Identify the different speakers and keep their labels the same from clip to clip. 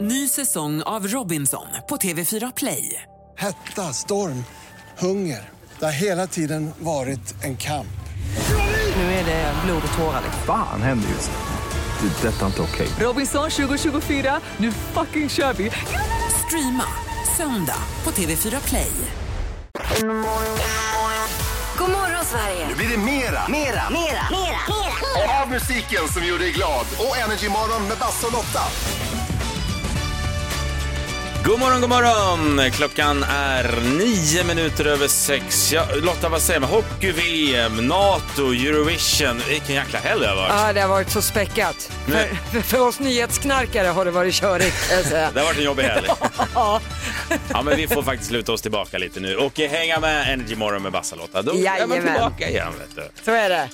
Speaker 1: Ny säsong av Robinson på TV4 Play.
Speaker 2: Hetta, storm, hunger. Det har hela tiden varit en kamp.
Speaker 1: Nu är det blod och tårar. liksom.
Speaker 3: Fan händer just nu. Det. är Detta är inte okej.
Speaker 1: Robinson 2024, nu fucking kör vi! Streama söndag på TV4 Play.
Speaker 4: God morgon, Sverige!
Speaker 5: Nu blir det mera, mera,
Speaker 4: Mera, mera, mera!
Speaker 5: av musiken som gjorde dig glad och Energy Morgon med Basse och Lotta.
Speaker 6: God morgon, god morgon! Klockan är nio minuter över sex. Ja, Lotta, vad säger man? Hockey-VM, NATO, Eurovision. Vilken jäkla helg det har varit.
Speaker 7: Ja, det har varit så späckat.
Speaker 6: Nej.
Speaker 7: För, för oss nyhetsknarkare har det varit körigt. kan jag säga.
Speaker 6: Det har varit en jobbig helg. ja, men vi får faktiskt luta oss tillbaka lite nu och hänga med Energy Morgon med Bassa Lotta. Då är man
Speaker 7: Jajamän.
Speaker 6: tillbaka igen, vet du.
Speaker 7: Så är det.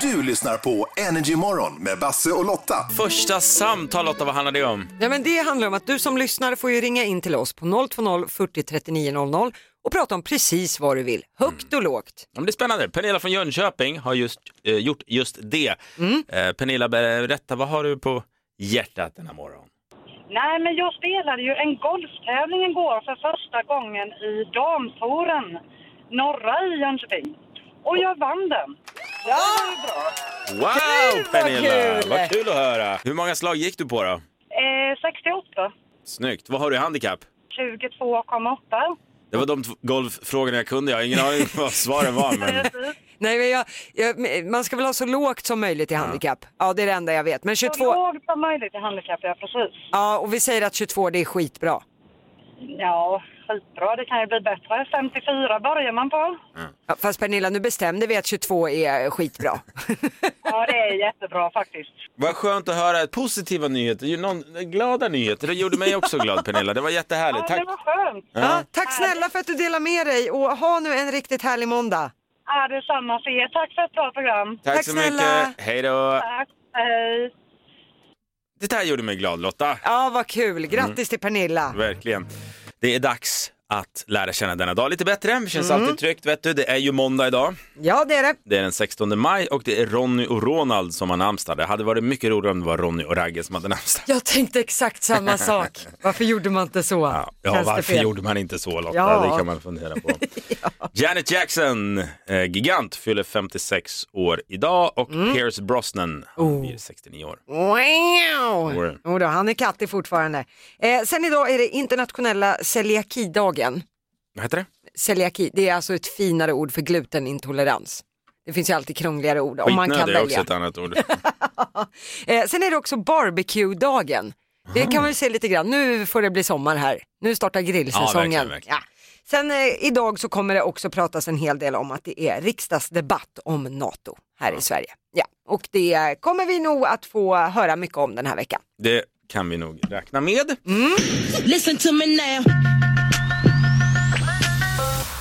Speaker 5: Du lyssnar på Energy Morgon med Basse och Lotta.
Speaker 6: Första samtal, Lotta, vad handlar det om?
Speaker 7: Ja, men det handlar om att du som lyssnare får ju ringa in till oss på 020 40 39 00 och prata om precis vad du vill, högt och lågt.
Speaker 6: Ja, men det är spännande. Pernilla från Jönköping har just eh, gjort just det.
Speaker 7: Mm.
Speaker 6: Eh, Pernilla, berätta, vad har du på hjärtat denna morgon?
Speaker 8: Nej, men jag spelade ju en golftävling igår för första gången i damtouren, norra i Jönköping. Och jag vann den.
Speaker 6: Wow,
Speaker 7: vad
Speaker 6: Pernilla!
Speaker 7: kul!
Speaker 6: Vad kul att höra. Hur många slag gick du på då?
Speaker 8: Eh, 68,
Speaker 6: Snyggt. Vad har du i handikapp?
Speaker 8: 22,8.
Speaker 6: Det var de t- golffrågorna jag kunde. Jag har ingen aning vad svaren var. Men...
Speaker 7: Nej, men jag, jag, man ska väl ha så lågt som möjligt i handikapp. Ja, det är det enda jag vet. Men
Speaker 8: Så
Speaker 7: 22,
Speaker 8: lågt som möjligt i handikapp, ja precis.
Speaker 7: ja, och vi säger att 22 det är skitbra.
Speaker 8: Ja, skitbra. Det kan ju bli bättre. 54 börjar man på.
Speaker 7: Ja, Fast Pernilla, nu bestämde vi att 22 är skitbra.
Speaker 8: Ja, det är jättebra faktiskt.
Speaker 6: Vad skönt att höra positiva nyheter, ju någon, glada nyheter. Det gjorde mig också glad Pernilla. Det var
Speaker 8: Ja, det
Speaker 6: jättehärligt. Tack.
Speaker 8: var skönt.
Speaker 7: Ja, tack snälla för att du delar med dig och ha nu en riktigt härlig måndag.
Speaker 8: Ja, det är samma för er. Tack för ett bra program.
Speaker 6: Tack
Speaker 7: Tack
Speaker 6: så
Speaker 7: snälla.
Speaker 6: mycket. Hej då.
Speaker 8: Tack. Hej.
Speaker 6: Det där gjorde mig glad Lotta.
Speaker 7: Ja, vad kul. Grattis till Pernilla.
Speaker 6: Verkligen. Det är dags att lära känna denna dag lite bättre. Det känns alltid tryggt vet du. Det är ju måndag idag.
Speaker 7: Ja, det är det.
Speaker 6: Det är den 16 maj och det är Ronny och Ronald som har namnsdag. Det hade varit mycket roligare om det var Ronny och Ragge som hade namnsdag.
Speaker 7: Jag tänkte exakt samma sak. Varför gjorde man inte så?
Speaker 6: Ja, ja
Speaker 7: Känns det
Speaker 6: varför
Speaker 7: fel?
Speaker 6: gjorde man inte så Lotta?
Speaker 7: Ja.
Speaker 6: Det kan man fundera på. Janet Jackson, eh, gigant, fyller 56 år idag och
Speaker 7: Mm.
Speaker 6: Pierce Brosnan
Speaker 7: Oh.
Speaker 6: han blir 69 år.
Speaker 7: Wow! Jodå, han är kattig fortfarande. Eh, sen idag är det internationella celiakidagen.
Speaker 6: Vad heter det?
Speaker 7: Celiaki, det är alltså ett finare ord för glutenintolerans. Det finns ju alltid krångligare ord om man
Speaker 6: Skitnödig
Speaker 7: kan
Speaker 6: är också
Speaker 7: välja.
Speaker 6: ett annat ord.
Speaker 7: Eh, sen är det också barbecue-dagen. Det kan man ju se lite grann. Nu får det bli sommar här. Nu startar grillsäsongen.
Speaker 6: Ja, verkligen, verkligen.
Speaker 7: Ja. Sen eh, idag så kommer det också pratas en hel del om att det är riksdagsdebatt om NATO här i Sverige. Ja, och det kommer vi nog att få höra mycket om den här veckan.
Speaker 6: Det kan vi nog räkna med.
Speaker 7: Mm.
Speaker 9: Listen to me now.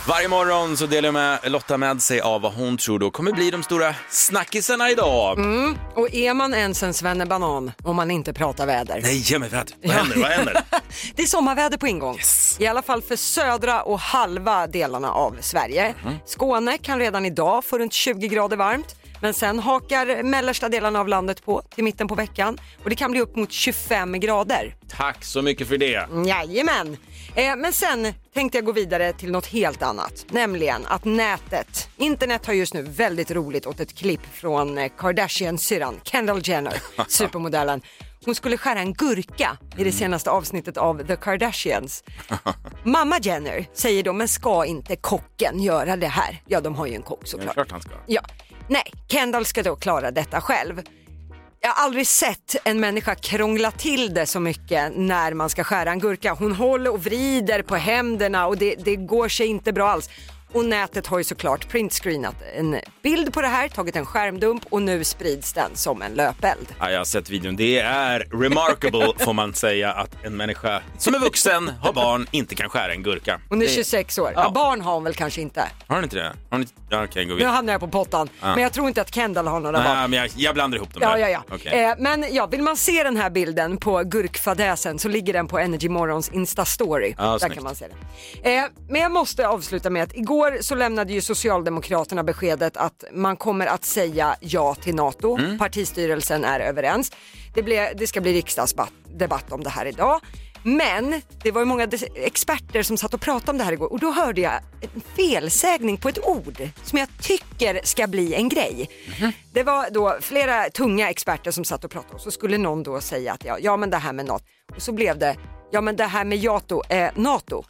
Speaker 6: Varje morgon så delar jag med Lotta med sig av vad hon tror då kommer bli de stora snackisarna idag.
Speaker 7: Mm. Och är man ens en svennebanan om man inte pratar väder?
Speaker 6: Nej, ge mig vad, vad händer? Vad händer?
Speaker 7: Det är sommarväder på ingång. I alla fall för södra och halva delarna av Sverige. Skåne kan redan idag få runt 20 grader varmt. Men sen hakar mellersta delarna av landet på till mitten på veckan och det kan bli upp mot 25 grader.
Speaker 6: Tack så mycket för det.
Speaker 7: Mm. Jajamän! Eh, men sen tänkte jag gå vidare till något helt annat, nämligen att nätet, internet har just nu väldigt roligt åt ett klipp från eh, Kardashian-syrran Kendall Jenner, supermodellen. Hon skulle skära en gurka i
Speaker 6: Mm.
Speaker 7: det senaste avsnittet av The Kardashians. Mamma Jenner säger då, men ska inte kocken göra det här? Ja, de har ju en kock
Speaker 6: Det är
Speaker 7: såklart.
Speaker 6: klart han ska.
Speaker 7: Ja, nej, Kendall ska då klara detta själv. Jag har aldrig sett en människa krångla till det så mycket när man ska skära en gurka. Hon håller och vrider på händerna och det, det går sig inte bra alls. Och nätet har ju såklart printscreenat en bild på det här, tagit en skärmdump och nu sprids den som en löpeld.
Speaker 6: Ja, jag har sett videon. Det är remarkable får man säga att en människa som är vuxen, har barn, inte kan skära en gurka.
Speaker 7: Hon är
Speaker 6: Det-
Speaker 7: 26 år. Ja.
Speaker 6: Ja.
Speaker 7: barn har hon väl kanske inte.
Speaker 6: Har hon inte det? Har hon inte... Ja, okej, gå
Speaker 7: Nu
Speaker 6: vidare.
Speaker 7: hamnar jag på pottan. Men jag tror inte att Kendall har några barn.
Speaker 6: Nej, men jag, jag blandar ihop dem
Speaker 7: Ja,
Speaker 6: där.
Speaker 7: ja, ja.
Speaker 6: Okej.
Speaker 7: Eh, men ja, vill man se den här bilden på gurkfadäsen så ligger den på Energy Morgons Insta-story.
Speaker 6: Ja,
Speaker 7: Där
Speaker 6: snyggt.
Speaker 7: kan man se den. Eh, men jag måste avsluta med att igår Igår så lämnade ju Socialdemokraterna beskedet att man kommer att säga ja till NATO. Partistyrelsen är överens. Det, ble, det ska bli riksdagsdebatt om det här idag. Men det var ju många des- experter som satt och pratade om det här igår och då hörde jag en felsägning på ett ord som jag tycker ska bli en grej. Det var då flera tunga experter som satt och pratade och så skulle någon då säga att ja, ja men det här med NATO och så blev det ja men det här med Jato, eh, NATO.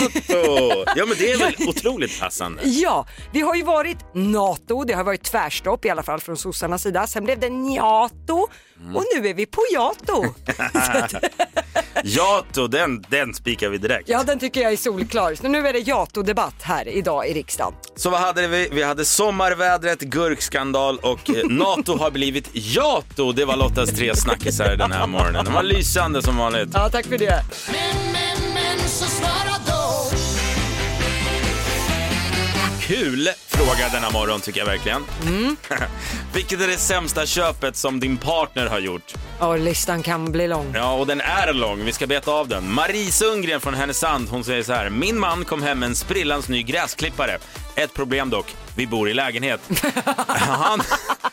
Speaker 6: Jato! Ja, men det är väl otroligt passande.
Speaker 7: Ja, vi har ju varit NATO, det har varit tvärstopp i alla fall från sossarnas sida. Sen blev det Njato och nu är vi på Jato.
Speaker 6: Jato, den, den spikar vi direkt.
Speaker 7: ja, den tycker jag är solklar. Så nu är det Jato-debatt här idag i riksdagen.
Speaker 6: Så vad hade vi? Vi hade sommarvädret, gurkskandal och eh, NATO har blivit Jato. Det var Lottas tre snackisar den här morgonen. De var lysande som vanligt.
Speaker 7: Ja, tack för det.
Speaker 9: Men, men, men, så svara då.
Speaker 6: Kul fråga denna morgon tycker jag verkligen. Vilket är det sämsta köpet som din partner har gjort?
Speaker 7: Ja, listan kan bli lång.
Speaker 6: Ja, och den är lång. Vi ska beta av den. Marie Sundgren från Härnösand, hon säger så här. Min man kom hem med en sprillans ny gräsklippare. Ett problem dock, vi bor i lägenhet. Han,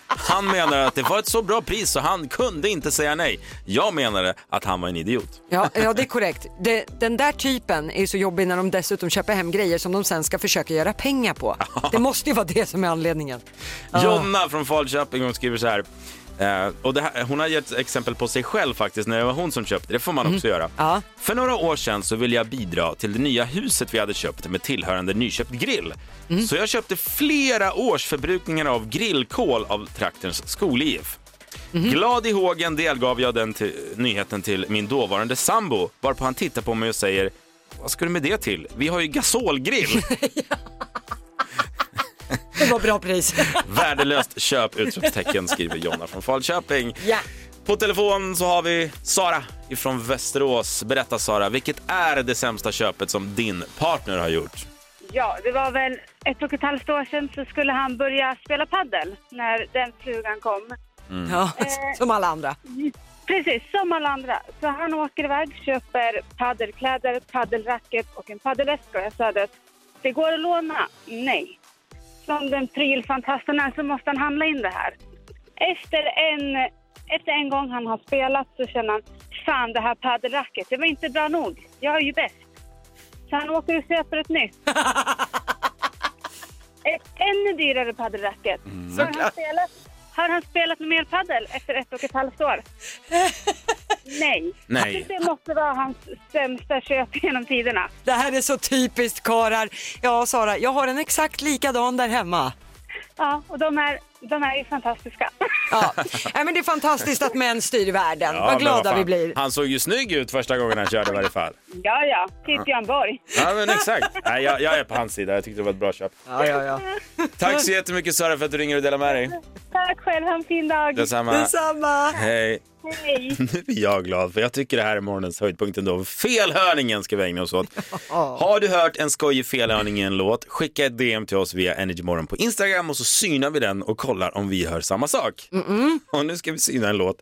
Speaker 6: han menar att det var ett så bra pris så han kunde inte säga nej. Jag menade att han var en idiot.
Speaker 7: Ja, ja det är korrekt. Det, den där typen är så jobbig när de dessutom köper hem grejer som de sen ska försöka göra pengar på. Det måste ju vara det som är anledningen. Ja.
Speaker 6: Jonna från Falköping hon skriver så här. eh, och det här, hon har gett exempel på sig själv faktiskt när det var hon som köpte. Det får man också göra.
Speaker 7: Mhm. Ja.
Speaker 6: För några år sedan så ville jag bidra till det nya huset vi hade köpt med tillhörande nyköpt grill.
Speaker 7: Mhm.
Speaker 6: Så jag köpte flera års förbrukningar av grillkol av traktens skol-IF.
Speaker 7: Mhm.
Speaker 6: Glad i hågen delgav jag den till, nyheten till min dåvarande sambo varpå han tittar på mig och säger Vad ska du med det till? Vi har ju gasolgrill!
Speaker 7: Det var bra pris.
Speaker 6: Värdelöst köp! Utropstecken skriver Jonna från Falköping.
Speaker 7: Ja.
Speaker 6: På telefon så har vi Sara ifrån Västerås. Berätta Sara, vilket är det sämsta köpet som din partner har gjort?
Speaker 10: Ja, det var väl ett och ett halvt år sedan så skulle han börja spela paddel när den frugan kom.
Speaker 7: Ja, som alla andra.
Speaker 10: Precis, som alla andra. Så han åker iväg, köper paddelkläder, paddelracket och en paddelväska. Och Jag sa det, det går att låna. Nej. Som den prylfantasten är så måste han handla in det här. Efter en, efter en gång han har spelat så känner han, fan det här paddelracket, det var inte bra nog. Jag är ju bäst. Så han åker och köper ett nytt. ett ännu dyrare paddelracket. Har, han spelat, har han spelat med mer paddel efter ett och ett halvt år? Nej.
Speaker 6: Nej.
Speaker 10: Det måste vara hans sämsta köp genom tiderna.
Speaker 7: Det här är så typiskt karar. Ja, Sara, jag har en exakt likadan där hemma.
Speaker 10: Ja, och de är, de är ju fantastiska.
Speaker 7: Ja. Nej, men det är fantastiskt att män styr världen.
Speaker 6: Ja, men
Speaker 7: vad glada
Speaker 6: fan.
Speaker 7: vi blir.
Speaker 6: Han såg ju snygg ut första gången han körde i varje fall.
Speaker 10: Ja, ja. Titt Björn Borg.
Speaker 6: Ja, men exakt. Nej, jag, jag är på hans sida. Jag tyckte det var ett bra köp.
Speaker 7: Ja, ja, ja.
Speaker 6: Tack så jättemycket Sara för att du ringer och delar med dig.
Speaker 10: Tack själv, ha en fin dag.
Speaker 6: Detsamma.
Speaker 7: Detsamma.
Speaker 6: Hej.
Speaker 10: Hej.
Speaker 6: Nu är jag glad, för jag tycker det här är morgonens höjdpunkt ändå. Felhörningen ska vi ägna oss åt. Har du hört en skojig felhörning i en låt, skicka ett DM till oss via Energymorgon på Instagram och så synar vi den och kollar om vi hör samma sak. Och nu ska vi syna en låt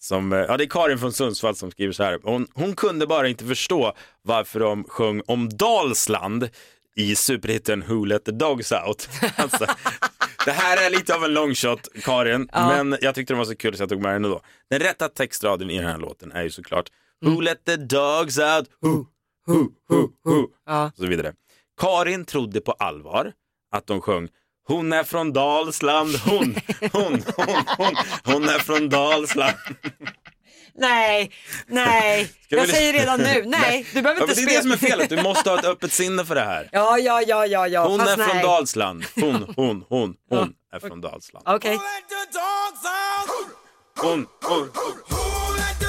Speaker 6: som, eh, ja det är Karin från Sundsvall som skriver så här. Hon, hon kunde bara inte förstå varför de sjöng om Dalsland i superhitten Who Let The Dogs Out. Alltså, det här är lite av en long shot, Karin, men jag tyckte den var så kul så jag tog med den ändå. Den rätta textraden i den här låten är ju såklart Who let the dogs out, who, who, who, who, och så vidare. Karin trodde på allvar att de sjöng hon är från Dalsland, hon, hon, hon, hon, hon är från Dalsland.
Speaker 7: Nej, nej.
Speaker 6: vi
Speaker 7: Jag
Speaker 6: li-
Speaker 7: säger redan nu, nej, du behöver
Speaker 6: Ja,
Speaker 7: inte
Speaker 6: men det är det som
Speaker 7: spela.
Speaker 6: är felet, du måste ha ett öppet sinne för det här.
Speaker 7: Ja, ja, ja, ja, ja.
Speaker 6: Hon
Speaker 7: Fast
Speaker 6: är från
Speaker 7: nej.
Speaker 6: Dalsland, hon, hon, hon, hon är från Dalsland.
Speaker 7: Okej.
Speaker 6: Hon, hon, hon.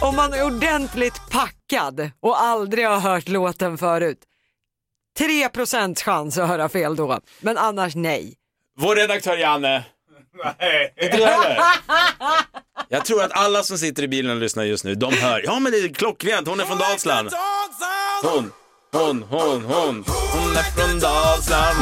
Speaker 7: Om man är ordentligt packad och aldrig har hört låten förut. 3% chans att höra fel då, men annars nej.
Speaker 6: Vår redaktör Janne. Nej. Inte du heller? Jag tror att alla som sitter i bilen och lyssnar just nu, de hör. Ja men det är klockrent, hon är från Dalsland. Hon, hon, hon, hon. Hon är från Dalsland.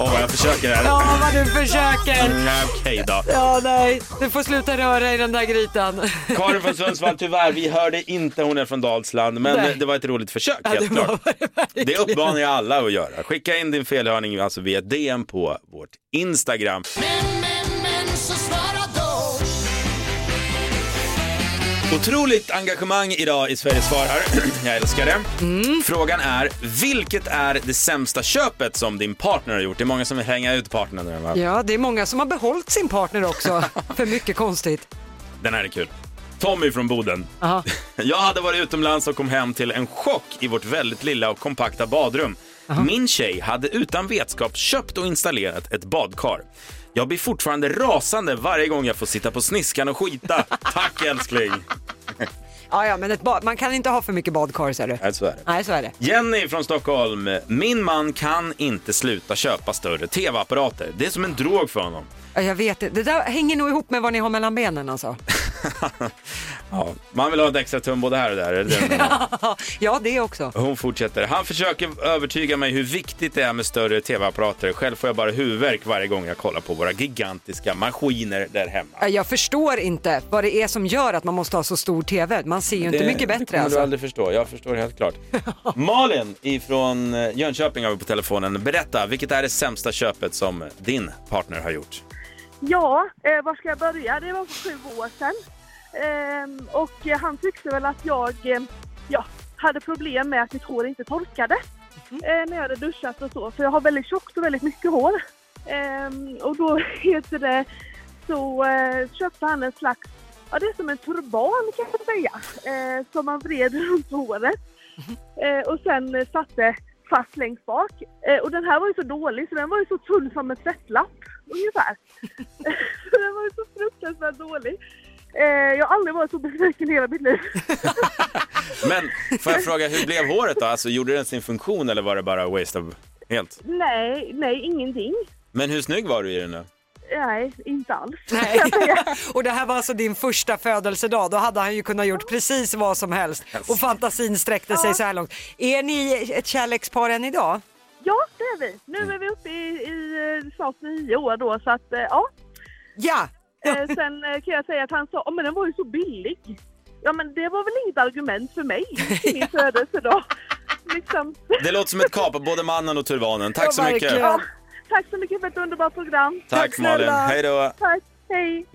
Speaker 6: Åh, vad jag försöker här.
Speaker 7: Ja, vad du försöker.
Speaker 6: Mm, Okej då.
Speaker 7: Ja, nej. Du får sluta röra i den där grytan.
Speaker 6: Karin från Sundsvall, tyvärr, vi hörde inte hon är från Dalsland, men
Speaker 7: Nej.
Speaker 6: det var ett roligt försök helt
Speaker 7: det var
Speaker 6: klart.
Speaker 7: det verkligen.
Speaker 6: Det uppmanar jag alla att göra. Skicka in din felhörning alltså via DM på vårt Instagram.
Speaker 9: Men, men, men så svara då.
Speaker 6: Otroligt engagemang idag i Sveriges svarar. Jag älskar det.
Speaker 7: Mm.
Speaker 6: Frågan är, vilket är det sämsta köpet som din partner har gjort? Det är många som vill hänga ut partnern. där, Va?
Speaker 7: Ja, det är många som har behållit sin partner också. För mycket konstigt.
Speaker 6: Den här är kul. Tommy från Boden.
Speaker 7: Aha.
Speaker 6: Jag hade varit utomlands och kom hem till en chock i vårt väldigt lilla och kompakta badrum. Min tjej hade utan vetskap köpt och installerat ett badkar. Jag blir fortfarande rasande varje gång jag får sitta på sniskan och skita. Tack älskling!
Speaker 7: Ja, ja, men ett bad, man kan inte ha för mycket badkar, ser du.
Speaker 6: Nej, så är det.
Speaker 7: Nej, så är det.
Speaker 6: Jenny från Stockholm. Min man kan inte sluta köpa större tv-apparater. Det är som en drog för honom.
Speaker 7: Ja, Jag vet det. Det där hänger nog ihop med vad ni har mellan benen alltså.
Speaker 6: Ja, man vill ha ett extra tum både här och där. Är det det?
Speaker 7: Ja, det också.
Speaker 6: Hon fortsätter. Han försöker övertyga mig hur viktigt det är med större tv-apparater. Själv får jag bara huvudvärk varje gång jag kollar på våra gigantiska maskiner där hemma.
Speaker 7: Ja, Jag förstår inte vad det är som gör att man måste ha så stor TV. Man ser ju inte mycket
Speaker 6: det
Speaker 7: bättre
Speaker 6: kommer du
Speaker 7: alltså.
Speaker 6: aldrig förstå. Jag förstår helt klart. Malin ifrån eh, Jönköping har vi på telefonen. Berätta, vilket är det sämsta köpet som din partner har gjort?
Speaker 10: Ja, eh, var ska jag börja? Det var för sju år sedan. Ehm, och eh, han tyckte väl att jag eh, ja, hade problem med att mitt hår inte torkade eh, när jag hade duschat och så. För jag har väldigt tjockt och väldigt mycket hår. Ehm, och då heter det så eh, köpte han en slags, ja det är som en turban kan man säga, eh, som man vred runt håret. Eh, och sen eh, satte fast längst bak. Eh, och den här var ju så dålig så den var ju så tunn som en tvättlapp ungefär. Så den var ju så fruktansvärt dålig. Eh, jag har aldrig varit så besviken i hela mitt liv.
Speaker 6: Men får jag fråga, hur blev håret då? Alltså, gjorde den sin funktion eller var det bara waste of helt?
Speaker 10: Nej, nej, ingenting.
Speaker 6: Men hur snygg var du i den då?
Speaker 10: Nej, inte alls.
Speaker 7: Nej. Och det här var alltså din första födelsedag. Då hade han ju kunnat gjort precis vad som helst. Och fantasin sträckte sig så här långt. Är ni ett kärlekspar än idag?
Speaker 10: Ja, det är vi. Nu är vi uppe i, i eh, snart nio år då, så att eh, ja.
Speaker 7: Ja!
Speaker 10: Eh, sen eh, kan jag säga att han sa, oh, men den var ju så billig. Ja, men det var väl inget argument för mig i min födelsedag. Liksom.
Speaker 6: Det låter som ett kap av både mannen och turbanen. Tack
Speaker 7: Ja,
Speaker 6: så mycket.
Speaker 7: verkligen.
Speaker 10: Ja, tack så mycket för ett underbart program.
Speaker 6: Tack Malin.
Speaker 7: snälla.
Speaker 6: Hej då.
Speaker 10: Tack, hej.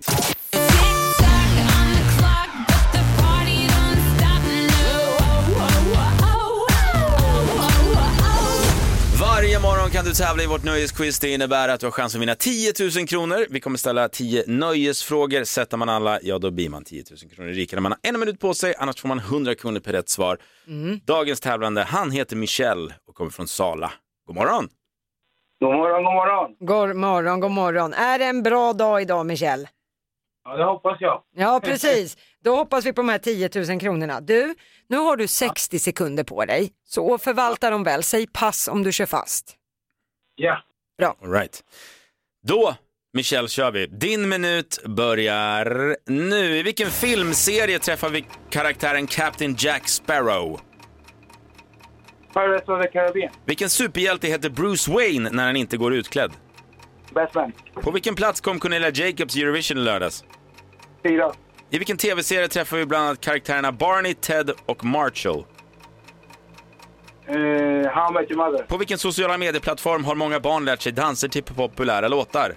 Speaker 6: Varje morgon kan du tävla i vårt nöjesquiz. Det innebär att du har chans att vinna 10 000 kronor. Vi kommer ställa 10 nöjesfrågor. Sätter man alla, ja då blir man 10 000 kronor rikare. Man har en minut på sig, annars får man 100 kronor per rätt svar.
Speaker 7: Mm.
Speaker 6: Dagens tävlande, han heter Michel och kommer från Sala. God morgon!
Speaker 11: God morgon, god morgon.
Speaker 7: God morgon, god morgon. Är det en bra dag idag Michel?
Speaker 11: Ja, det hoppas jag.
Speaker 7: Ja, precis. Då hoppas vi på de här 10 000 kronorna. Du, nu har du 60 sekunder på dig. Så förvalta dem väl. Säg pass om du kör fast.
Speaker 11: Ja.
Speaker 6: All right. Då, Michel, kör vi. Din minut börjar nu. I vilken filmserie träffar vi karaktären Captain Jack Sparrow?
Speaker 11: Pirates of the Caribbean.
Speaker 6: Vilken superhjälte heter Bruce Wayne när han inte går utklädd?
Speaker 11: Batman.
Speaker 6: På vilken plats kom Cornelia Jacobs i Eurovision i lördags?
Speaker 11: Fyra.
Speaker 6: I vilken tv-serie träffar vi bland annat karaktärerna Barney, Ted och Marshall?
Speaker 11: Uh, how I met your mother.
Speaker 6: På vilken sociala medieplattform har många barn lärt sig danser till populära låtar?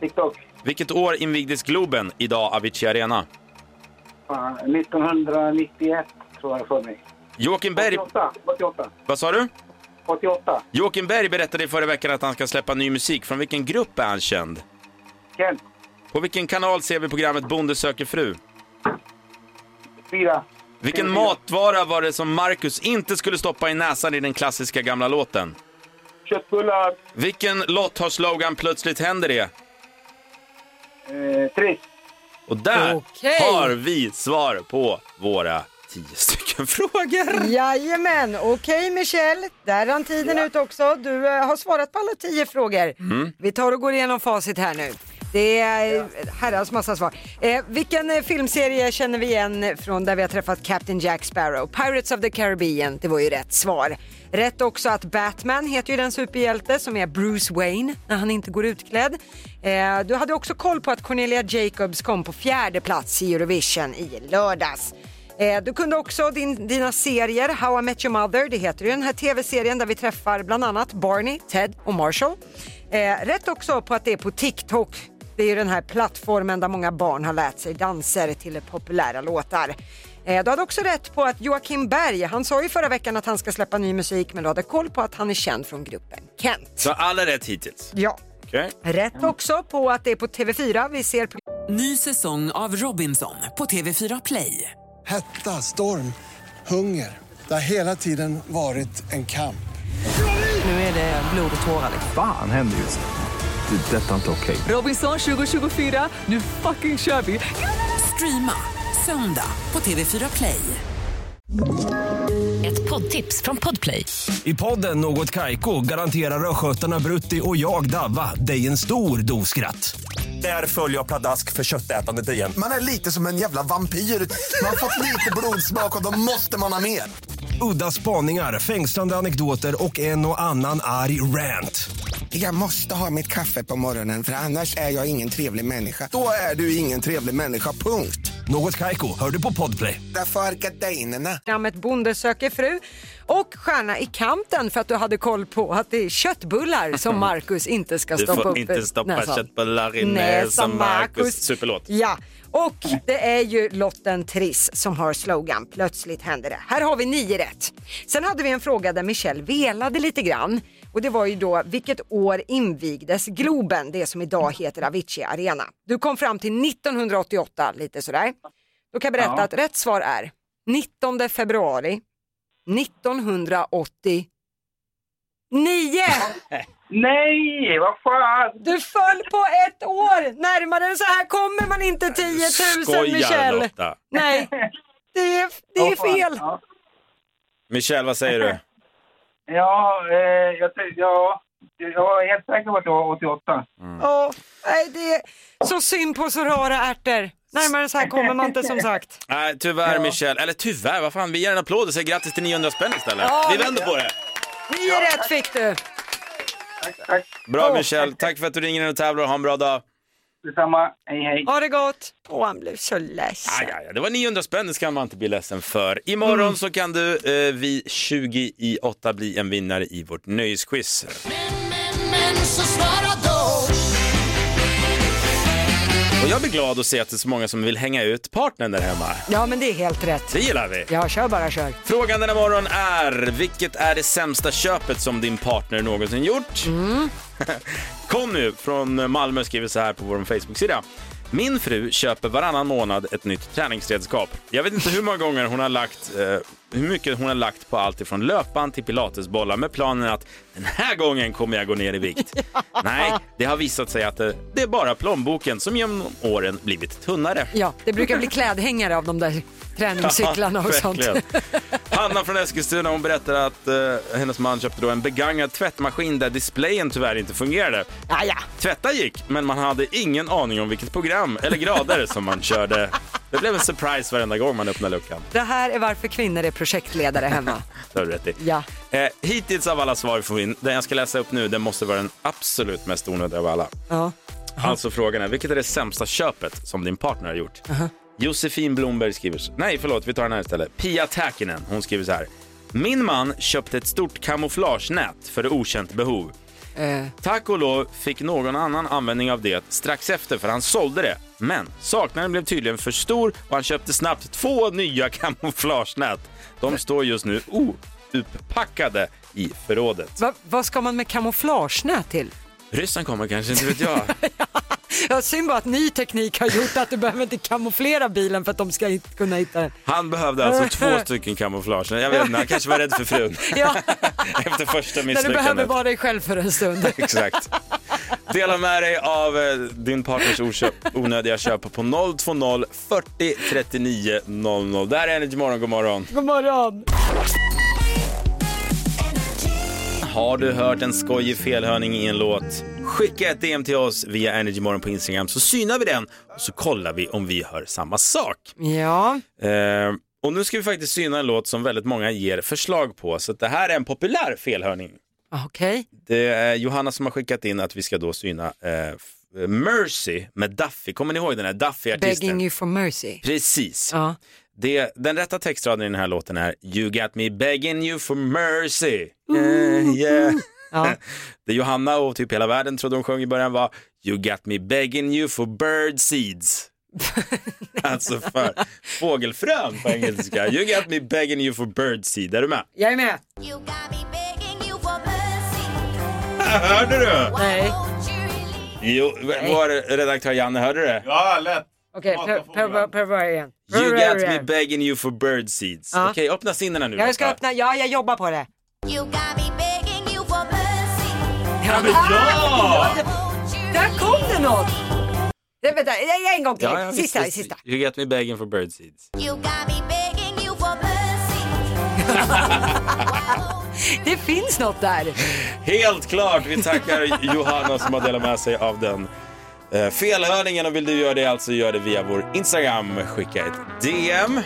Speaker 11: TikTok.
Speaker 6: Vilket år invigdes Globen, idag Avicii Arena?
Speaker 11: Fan, 1991 tror jag för mig.
Speaker 6: Joakim Berg...
Speaker 11: 88. 88.
Speaker 6: Vad sa du?
Speaker 11: 88.
Speaker 6: Joakim Berg berättade i förra veckan att han ska släppa ny musik. Från vilken grupp är han känd?
Speaker 11: Kent.
Speaker 6: På vilken kanal ser vi programmet Bonde söker fru?
Speaker 11: Fyra.
Speaker 6: Vilken
Speaker 7: Mm.
Speaker 6: matvara var det som Marcus inte skulle stoppa i näsan i den klassiska gamla låten?
Speaker 11: Köttbullar.
Speaker 6: Vilken lott har slogan Plötsligt händer det?
Speaker 11: Uh, Triss.
Speaker 6: Och där
Speaker 7: Okej.
Speaker 6: har vi svar på våra tio stycken frågor.
Speaker 7: Jajamän, okej Michelle, där rann tiden ut också. Du eh, har svarat på alla tio frågor. Vi tar och går igenom facit här nu. Det är ja. herrans massa svar. Eh, vilken eh, filmserie känner vi igen från där vi har träffat Captain Jack Sparrow? Pirates of the Caribbean, det var ju rätt svar. Rätt också att Batman heter ju den superhjälte som är Bruce Wayne när han inte går utklädd. Eh, du hade också koll på att Cornelia Jacobs kom på fjärde plats i Eurovision i lördags. Eh, Du kunde också din, dina serier, How I Met Your Mother, det heter ju den här tv-serien där vi träffar bland annat Barney, Ted och Marshall. Eh, rätt också på att det är på TikTok. Det är ju den här plattformen där många barn har lärt sig danser till populära låtar. Eh, Du hade också rätt på att Joakim Berg, han sa ju förra veckan att han ska släppa ny musik men du hade koll på att han är känd från gruppen Kent.
Speaker 6: Så alla rätt hittills?
Speaker 7: Ja.
Speaker 6: Okej.
Speaker 7: Rätt också på att det är på TV4 vi ser programmet.
Speaker 1: Ny säsong av Robinson på TV4 Play.
Speaker 2: Hetta, storm, hunger. Det har hela tiden varit en kamp.
Speaker 1: Nu är det blod och tårar.
Speaker 3: Fan händer just nu. Det. är Detta är inte okej.
Speaker 1: Robinson 2024, nu fucking kör vi! Streama söndag på TV4 Play.
Speaker 12: Ett poddtips från Podplay.
Speaker 13: I podden Något Kaiko garanterar östgötarna Brutti och jag, Davva, dig en stor dos skratt. Där följer jag pladask för köttätandet igen.
Speaker 9: Man är lite som en jävla vampyr. Man har fått lite blodsmak och då måste man ha mer.
Speaker 13: Udda spaningar, fängslande anekdoter och en och annan arg rant.
Speaker 14: Jag måste ha mitt kaffe på morgonen för annars är jag ingen trevlig människa. Då är du ingen trevlig människa, punkt.
Speaker 13: Något Kaiko, hör du på Podplay.
Speaker 14: Därför är gardinerna.
Speaker 7: programmet Bonde söker fru och Stjärna i kanten för att du hade koll på att det är köttbullar som Marcus inte ska
Speaker 6: Du
Speaker 7: stoppa
Speaker 6: får
Speaker 7: upp
Speaker 6: inte stoppa
Speaker 7: näsan.
Speaker 6: köttbullar i
Speaker 7: Näsan,
Speaker 6: näsan, Marcus.
Speaker 7: Marcus.
Speaker 6: Superlåt.
Speaker 7: Ja, och det är ju Lotten Triss som har slogan Plötsligt händer det. Här har vi nio rätt. Sen hade vi en fråga där Michelle velade lite grann och det var ju då vilket år invigdes Globen, det som idag heter Avicii Arena. Du kom fram till 1988 lite sådär. Då kan jag berätta
Speaker 15: Ja.
Speaker 7: att rätt svar är 19 februari 1989.
Speaker 11: Nej, vad fan!
Speaker 7: Du föll på ett år! Närmare än så här kommer man inte 10 000
Speaker 6: Skojar
Speaker 7: Michelle!
Speaker 6: Lotta.
Speaker 7: Nej, det är, det är
Speaker 11: Ja, fan,
Speaker 7: fel.
Speaker 11: ja.
Speaker 6: Michelle, vad säger du?
Speaker 11: Ja, eh, jag, ty- ja, jag är helt säker på att det var 88.
Speaker 7: Ja, nej, det är så synd på så rara ärtor. Närmare än så här kommer man inte som sagt.
Speaker 6: Nej, tyvärr Michelle. Eller tyvärr, vad fan, vi ger en applåd och säger grattis till 900 spänn istället.
Speaker 7: Ja,
Speaker 6: vi vänder på det.
Speaker 7: Nio rätt fick du.
Speaker 6: Bra Michelle, tack för att du ringer in och tävlar och ha en bra dag.
Speaker 11: Detsamma, hej hej.
Speaker 7: Ha det gott. Åh, han blev så ledsen.
Speaker 6: Aj, aj, aj. Det var 900 spänn, det ska man inte bli ledsen för. Imorgon så kan du eh, vid 20 i 8 bli en vinnare i vårt nöjesquiz.
Speaker 9: Men så svara då.
Speaker 6: Och jag blir glad att se att det är så många som vill hänga ut partnern där hemma.
Speaker 7: Ja, men det är helt rätt.
Speaker 6: Det gillar vi.
Speaker 7: Ja, kör bara kör.
Speaker 6: Frågan denna morgon är, vilket är det sämsta köpet som din partner någonsin gjort? Conny från Malmö skriver så här på vår Facebook-sida. Min fru köper varannan månad ett nytt träningsredskap. Jag vet inte hur många gånger hon har lagt, eh, hur mycket hon har lagt på allt ifrån löpband till pilatesbollar med planen att den här gången kommer jag gå ner i vikt. Nej, det har visat sig att eh, det är bara plånboken som genom åren blivit tunnare.
Speaker 7: Ja, det brukar bli klädhängare av de där träningscyklarna och sånt.
Speaker 6: Verkligen. Hanna från Eskilstuna hon berättar att eh, hennes man köpte då en begagnad tvättmaskin där displayen tyvärr inte fungerade. Tvätta gick, men man hade ingen aning om vilket program eller grader som man körde. Det blev en surprise varenda gång man öppnade luckan.
Speaker 7: Det här är varför kvinnor är projektledare hemma.
Speaker 6: Det har du rätt i.
Speaker 7: Ja.
Speaker 6: Eh, hittills av alla svar vi får in, den jag ska läsa upp nu, den måste vara den absolut mest onödiga av alla.
Speaker 7: Ja.
Speaker 6: Alltså frågan är, vilket är det sämsta köpet som din partner har gjort? Josefin Blomberg skriver, så- nej förlåt, vi tar den här istället. Pia Täkinen, hon skriver så här. Min man köpte ett stort kamouflagenät för okänt behov. Tack och lov fick någon annan användning av det strax efter för han sålde det. Men saknaden blev tydligen för stor och han köpte snabbt två nya kamouflagenät. De står just nu outpackade i förrådet.
Speaker 7: Va, vad ska man med kamouflagenät till?
Speaker 6: Ryssen kommer kanske, inte vet jag.
Speaker 7: Ja, synd bara att ny teknik har gjort att du behöver inte kamouflera bilen för att de ska hit- kunna hitta den.
Speaker 6: Han behövde alltså två stycken kamouflage. Jag vet inte, han kanske var rädd för frun
Speaker 7: Ja,
Speaker 6: efter första
Speaker 7: när du behöver
Speaker 6: misslyckandet.
Speaker 7: vara dig själv för en stund.
Speaker 6: Exakt. Dela med dig av eh, din partners oköp, onödiga köp på 020 40 39 00. Där är Energy Morgon, god morgon.
Speaker 7: God morgon!
Speaker 6: Har du hört en skojig felhörning i en låt? Skicka ett DM till oss via Energy Morgon på Instagram så synar vi den och så kollar vi om vi hör samma sak.
Speaker 7: Ja,
Speaker 6: Eh, Och nu ska vi faktiskt syna en låt som väldigt många ger förslag på. Så att det här är en populär felhörning.
Speaker 7: Okej.
Speaker 6: Det är Johanna som har skickat in att vi ska då syna eh, f- Mercy med Duffy. Kommer ni ihåg den här Duffy-artisten?
Speaker 7: Begging you for mercy.
Speaker 6: Precis. Det, den rätta textraden i den här låten är You got me begging you for mercy. Yeah, yeah. Det Johanna och typ hela världen trodde hon sjöng i början var You got me begging you for bird seeds. alltså för fågelfrön på engelska. You got me begging you for bird seed. Är du med?
Speaker 7: Jag är med.
Speaker 6: Hörde du?
Speaker 7: Nej.
Speaker 6: Jo, vår redaktör Janne, hörde du det?
Speaker 11: Ja, lätt.
Speaker 7: Okej, pröv- pröva pröva igen.
Speaker 6: You
Speaker 7: Pröva
Speaker 6: got me
Speaker 7: igen.
Speaker 6: begging you for bird seeds.
Speaker 7: Ja.
Speaker 6: Okej, öppna sinnena nu.
Speaker 7: Jag ska
Speaker 6: Lotta.
Speaker 7: öppna, ja jag jobbar på det.
Speaker 6: Ja, men ja!
Speaker 7: Där kom det något! Det, vänta, en- en gång till.
Speaker 6: Ja, ja, visst,
Speaker 7: sista,
Speaker 6: visst.
Speaker 7: sista.
Speaker 6: You got me begging for bird seeds.
Speaker 7: Det finns något där.
Speaker 6: Helt klart! Vi tackar Johanna som har delat med sig av den eh, felhörningen. Och vill du göra det alltså, gör det via vår Instagram. Skicka ett DM.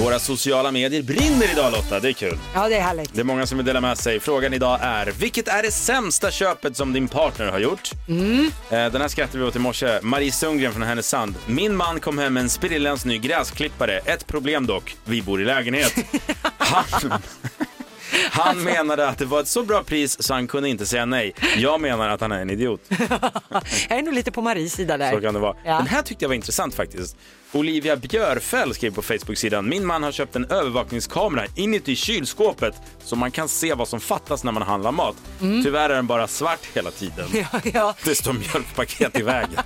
Speaker 6: Våra sociala medier brinner idag Lotta, det är kul.
Speaker 7: Ja, det är härligt.
Speaker 6: Det är många som vill dela med sig. Frågan idag är, vilket är det sämsta köpet som din partner har gjort?
Speaker 7: Mm.
Speaker 6: Eh, Den här skrattade vi åt i morse. Marie Sundgren från Härnösand. Min man kom hem med en sprillans ny gräsklippare. Ett problem dock, vi bor i lägenhet. Han, han menade att det var ett så bra pris så han kunde inte säga nej. Jag menar att han är en idiot.
Speaker 7: Jag är nog lite på Maries sida där.
Speaker 6: Så kan det vara.
Speaker 7: Ja.
Speaker 6: Den här tyckte jag var intressant faktiskt. Olivia Björfell skrev på Facebook-sidan. Min man har köpt en övervakningskamera inuti kylskåpet så man kan se vad som fattas när man handlar mat.
Speaker 7: Mm.
Speaker 6: Tyvärr är den bara svart hela tiden.
Speaker 7: Ja, ja.
Speaker 6: Det står mjölkpaket i vägen.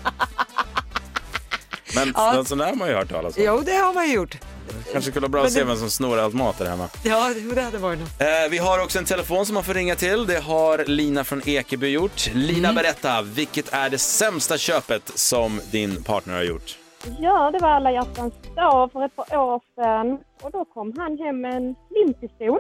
Speaker 6: Men
Speaker 7: Ja.
Speaker 6: ja. sån där har man ju hört talas om.
Speaker 7: Jo, det har man gjort.
Speaker 6: Kanske skulle vara bra
Speaker 7: Men
Speaker 6: att se
Speaker 7: det-
Speaker 6: vem som snor allt mat där hemma.
Speaker 7: Ja, jo, det hade varit något.
Speaker 6: Eh, vi har också en telefon som man får ringa till. Det har Lina från Ekeby gjort. Lina,
Speaker 7: Mm.
Speaker 6: berätta, vilket är det sämsta köpet som din partner har gjort?
Speaker 12: Ja, det var alla hjärtans dag för ett par år sedan. Och då kom han hem med en limpistol.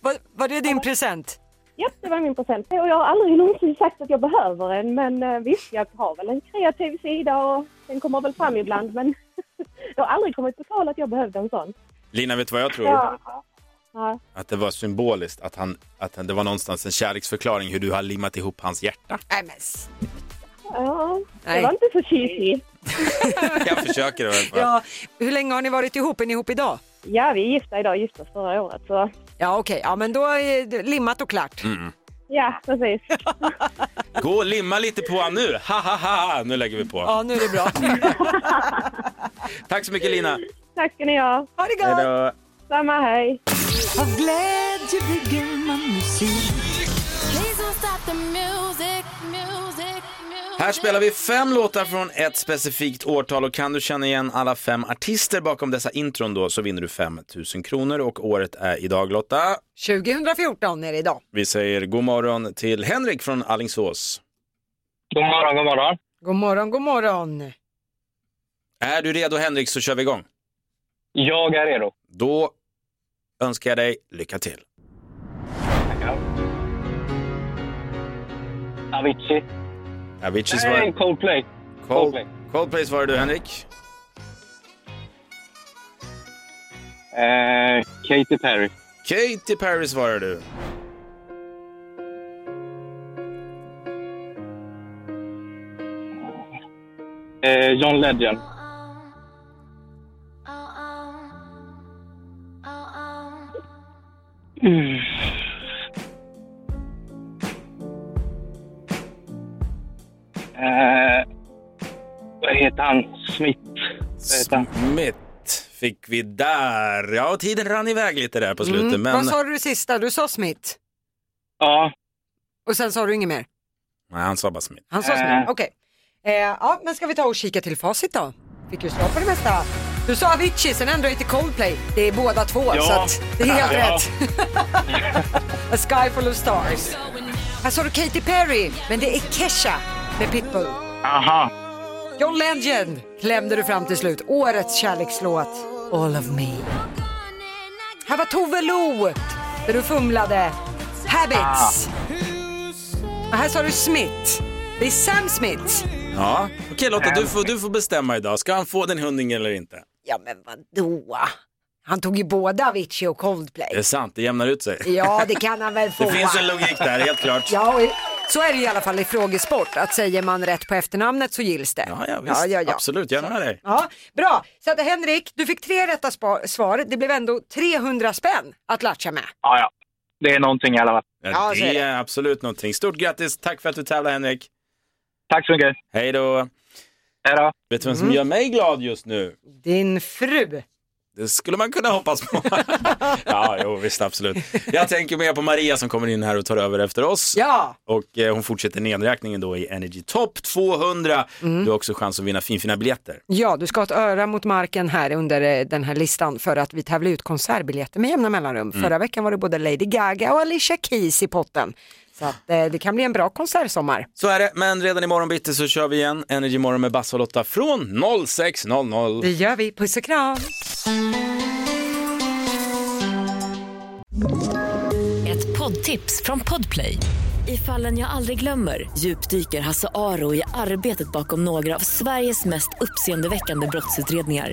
Speaker 7: var, var det din present?
Speaker 12: Ja, det var min present. Och jag har aldrig någonsin sagt att jag behöver en, men eh, visst, jag har väl en kreativ sida och den kommer väl fram ibland, men det har aldrig kommit på tal att jag behövde en sån.
Speaker 6: Lina, vet du vad jag tror?
Speaker 12: Ja. Ja.
Speaker 6: Att det var symboliskt, att, han, att han- det var någonstans en kärleksförklaring hur du har limmat ihop hans hjärta.
Speaker 7: Nej, men s-
Speaker 12: ja, det
Speaker 7: Nej.
Speaker 12: var inte så cheesy.
Speaker 6: Jag försöker i alla fall.
Speaker 7: ja, hur länge har ni varit ihop? Är ni ihop idag?
Speaker 12: Ja, vi är gifta idag, gifta oss förra året. Så.
Speaker 7: Ja, okej. Ja, men då är det limmat och klart.
Speaker 6: Mm.
Speaker 12: Ja, precis.
Speaker 6: Gå och limma lite på honom nu. Ha, ha, ha. Nu lägger vi på.
Speaker 7: Ja, nu är det bra.
Speaker 6: Tack så mycket Lina.
Speaker 12: Tack ska ni ha.
Speaker 7: Ha det
Speaker 6: Hej då.
Speaker 12: Samma, hej.
Speaker 15: Av glädje bygger man musik.
Speaker 6: Här spelar vi fem låtar från ett specifikt årtal och kan du känna igen alla fem artister bakom dessa intron då så vinner du 5 000 kronor och året är idag Lotta.
Speaker 7: 2014 är det idag.
Speaker 6: Vi säger god morgon till Henrik från Allingsås.
Speaker 11: God morgon, god morgon.
Speaker 7: God morgon, god morgon.
Speaker 6: Är du redo Henrik så kör vi igång.
Speaker 11: Jag är redo.
Speaker 6: Då önskar jag dig lycka till.
Speaker 11: Avicii.
Speaker 6: Avicii
Speaker 11: Nej,
Speaker 6: svarar...
Speaker 11: Coldplay. Coldplay.
Speaker 6: Cold... Coldplay svarar du Henrik.
Speaker 11: Eh, Katy Perry.
Speaker 6: Katy Perry svarar du.
Speaker 11: Eh, John Legend.
Speaker 16: Oh,
Speaker 11: Mm. Eh, vad heter han? Smith. Vad heter han?
Speaker 6: Smith fick vi där. Ja, tiden rann iväg lite där på slutet.
Speaker 7: Mm.
Speaker 6: Men...
Speaker 7: Vad sa du sista? Du sa Smith.
Speaker 11: Ja.
Speaker 7: Och sen sa du inget mer?
Speaker 6: Nej, han sa bara Smith.
Speaker 7: Han sa Smith, okej. Eh, ja, men ska vi ta och kika till facit då? Fick ju svar på det mesta. Du sa Avicii, sen ändrade jag till Coldplay. Det är båda två,
Speaker 11: Ja.
Speaker 7: så att det är helt
Speaker 11: Ja.
Speaker 7: rätt. A Sky Full of Stars. Här sa du Katy Perry, men det är Kesha med Pitbull.
Speaker 11: Aha.
Speaker 7: John Legend klämde du fram till slut. Årets kärlekslåt, All of me. Här var Tove Lo,
Speaker 11: Ah.
Speaker 7: där du fumlade. Habits. Och här sa du Smith. Det är Sam Smith.
Speaker 6: Ja, okej Lotta, du får, du får bestämma idag. Ska han få den hundringen eller inte?
Speaker 7: Ja men vadå? Han tog ju båda Avicii och Coldplay.
Speaker 6: Det är sant, det jämnar ut sig.
Speaker 7: Ja det kan han väl få.
Speaker 6: Det finns en logik där, helt klart.
Speaker 7: Ja, och så är det i alla fall i frågesport, att säger man rätt på efternamnet så gills det.
Speaker 6: Ja, ja, visst. Absolut, jag är med dig.
Speaker 7: Ja, bra, så att Henrik, du fick tre rätta spa- svar. Det blev ändå 300 spänn att latcha med.
Speaker 11: Ja, ja. Det är någonting i alla fall.
Speaker 6: Ja,
Speaker 7: så är
Speaker 6: det
Speaker 7: det.
Speaker 6: är absolut någonting. Stort grattis, tack för att du tävlar Henrik.
Speaker 11: Tack så mycket.
Speaker 6: Hej då.
Speaker 11: Hej då.
Speaker 6: Vet du vem som
Speaker 7: Mm.
Speaker 6: gör mig glad just nu?
Speaker 7: Din fru.
Speaker 6: Det skulle man kunna hoppas på. ja, jo, visst absolut. Jag tänker mer på Maria som kommer in här och tar över efter oss.
Speaker 7: Ja.
Speaker 6: Och eh, hon fortsätter nedräkningen då i Energy Top 200.
Speaker 7: Mm.
Speaker 6: Du har också chans att vinna finfina biljetter.
Speaker 7: Ja, du ska ha ett öra mot marken här under eh, den här listan för att vi tävlar ut konsertbiljetter med jämna mellanrum.
Speaker 6: Mm.
Speaker 7: Förra veckan var det både Lady Gaga och Alicia Keys i potten. Så att, eh, det kan bli en bra konsertsommar.
Speaker 6: Så är det, men redan imorgon bitti så kör vi igen Energy Morgon med Basse och Lotta från 06.00.
Speaker 7: Det gör vi, puss och kram!
Speaker 17: Ett poddtips från Podplay. I fallen jag aldrig glömmer djupdyker Hasse Aro i arbetet bakom några av Sveriges mest uppseendeväckande brottsutredningar.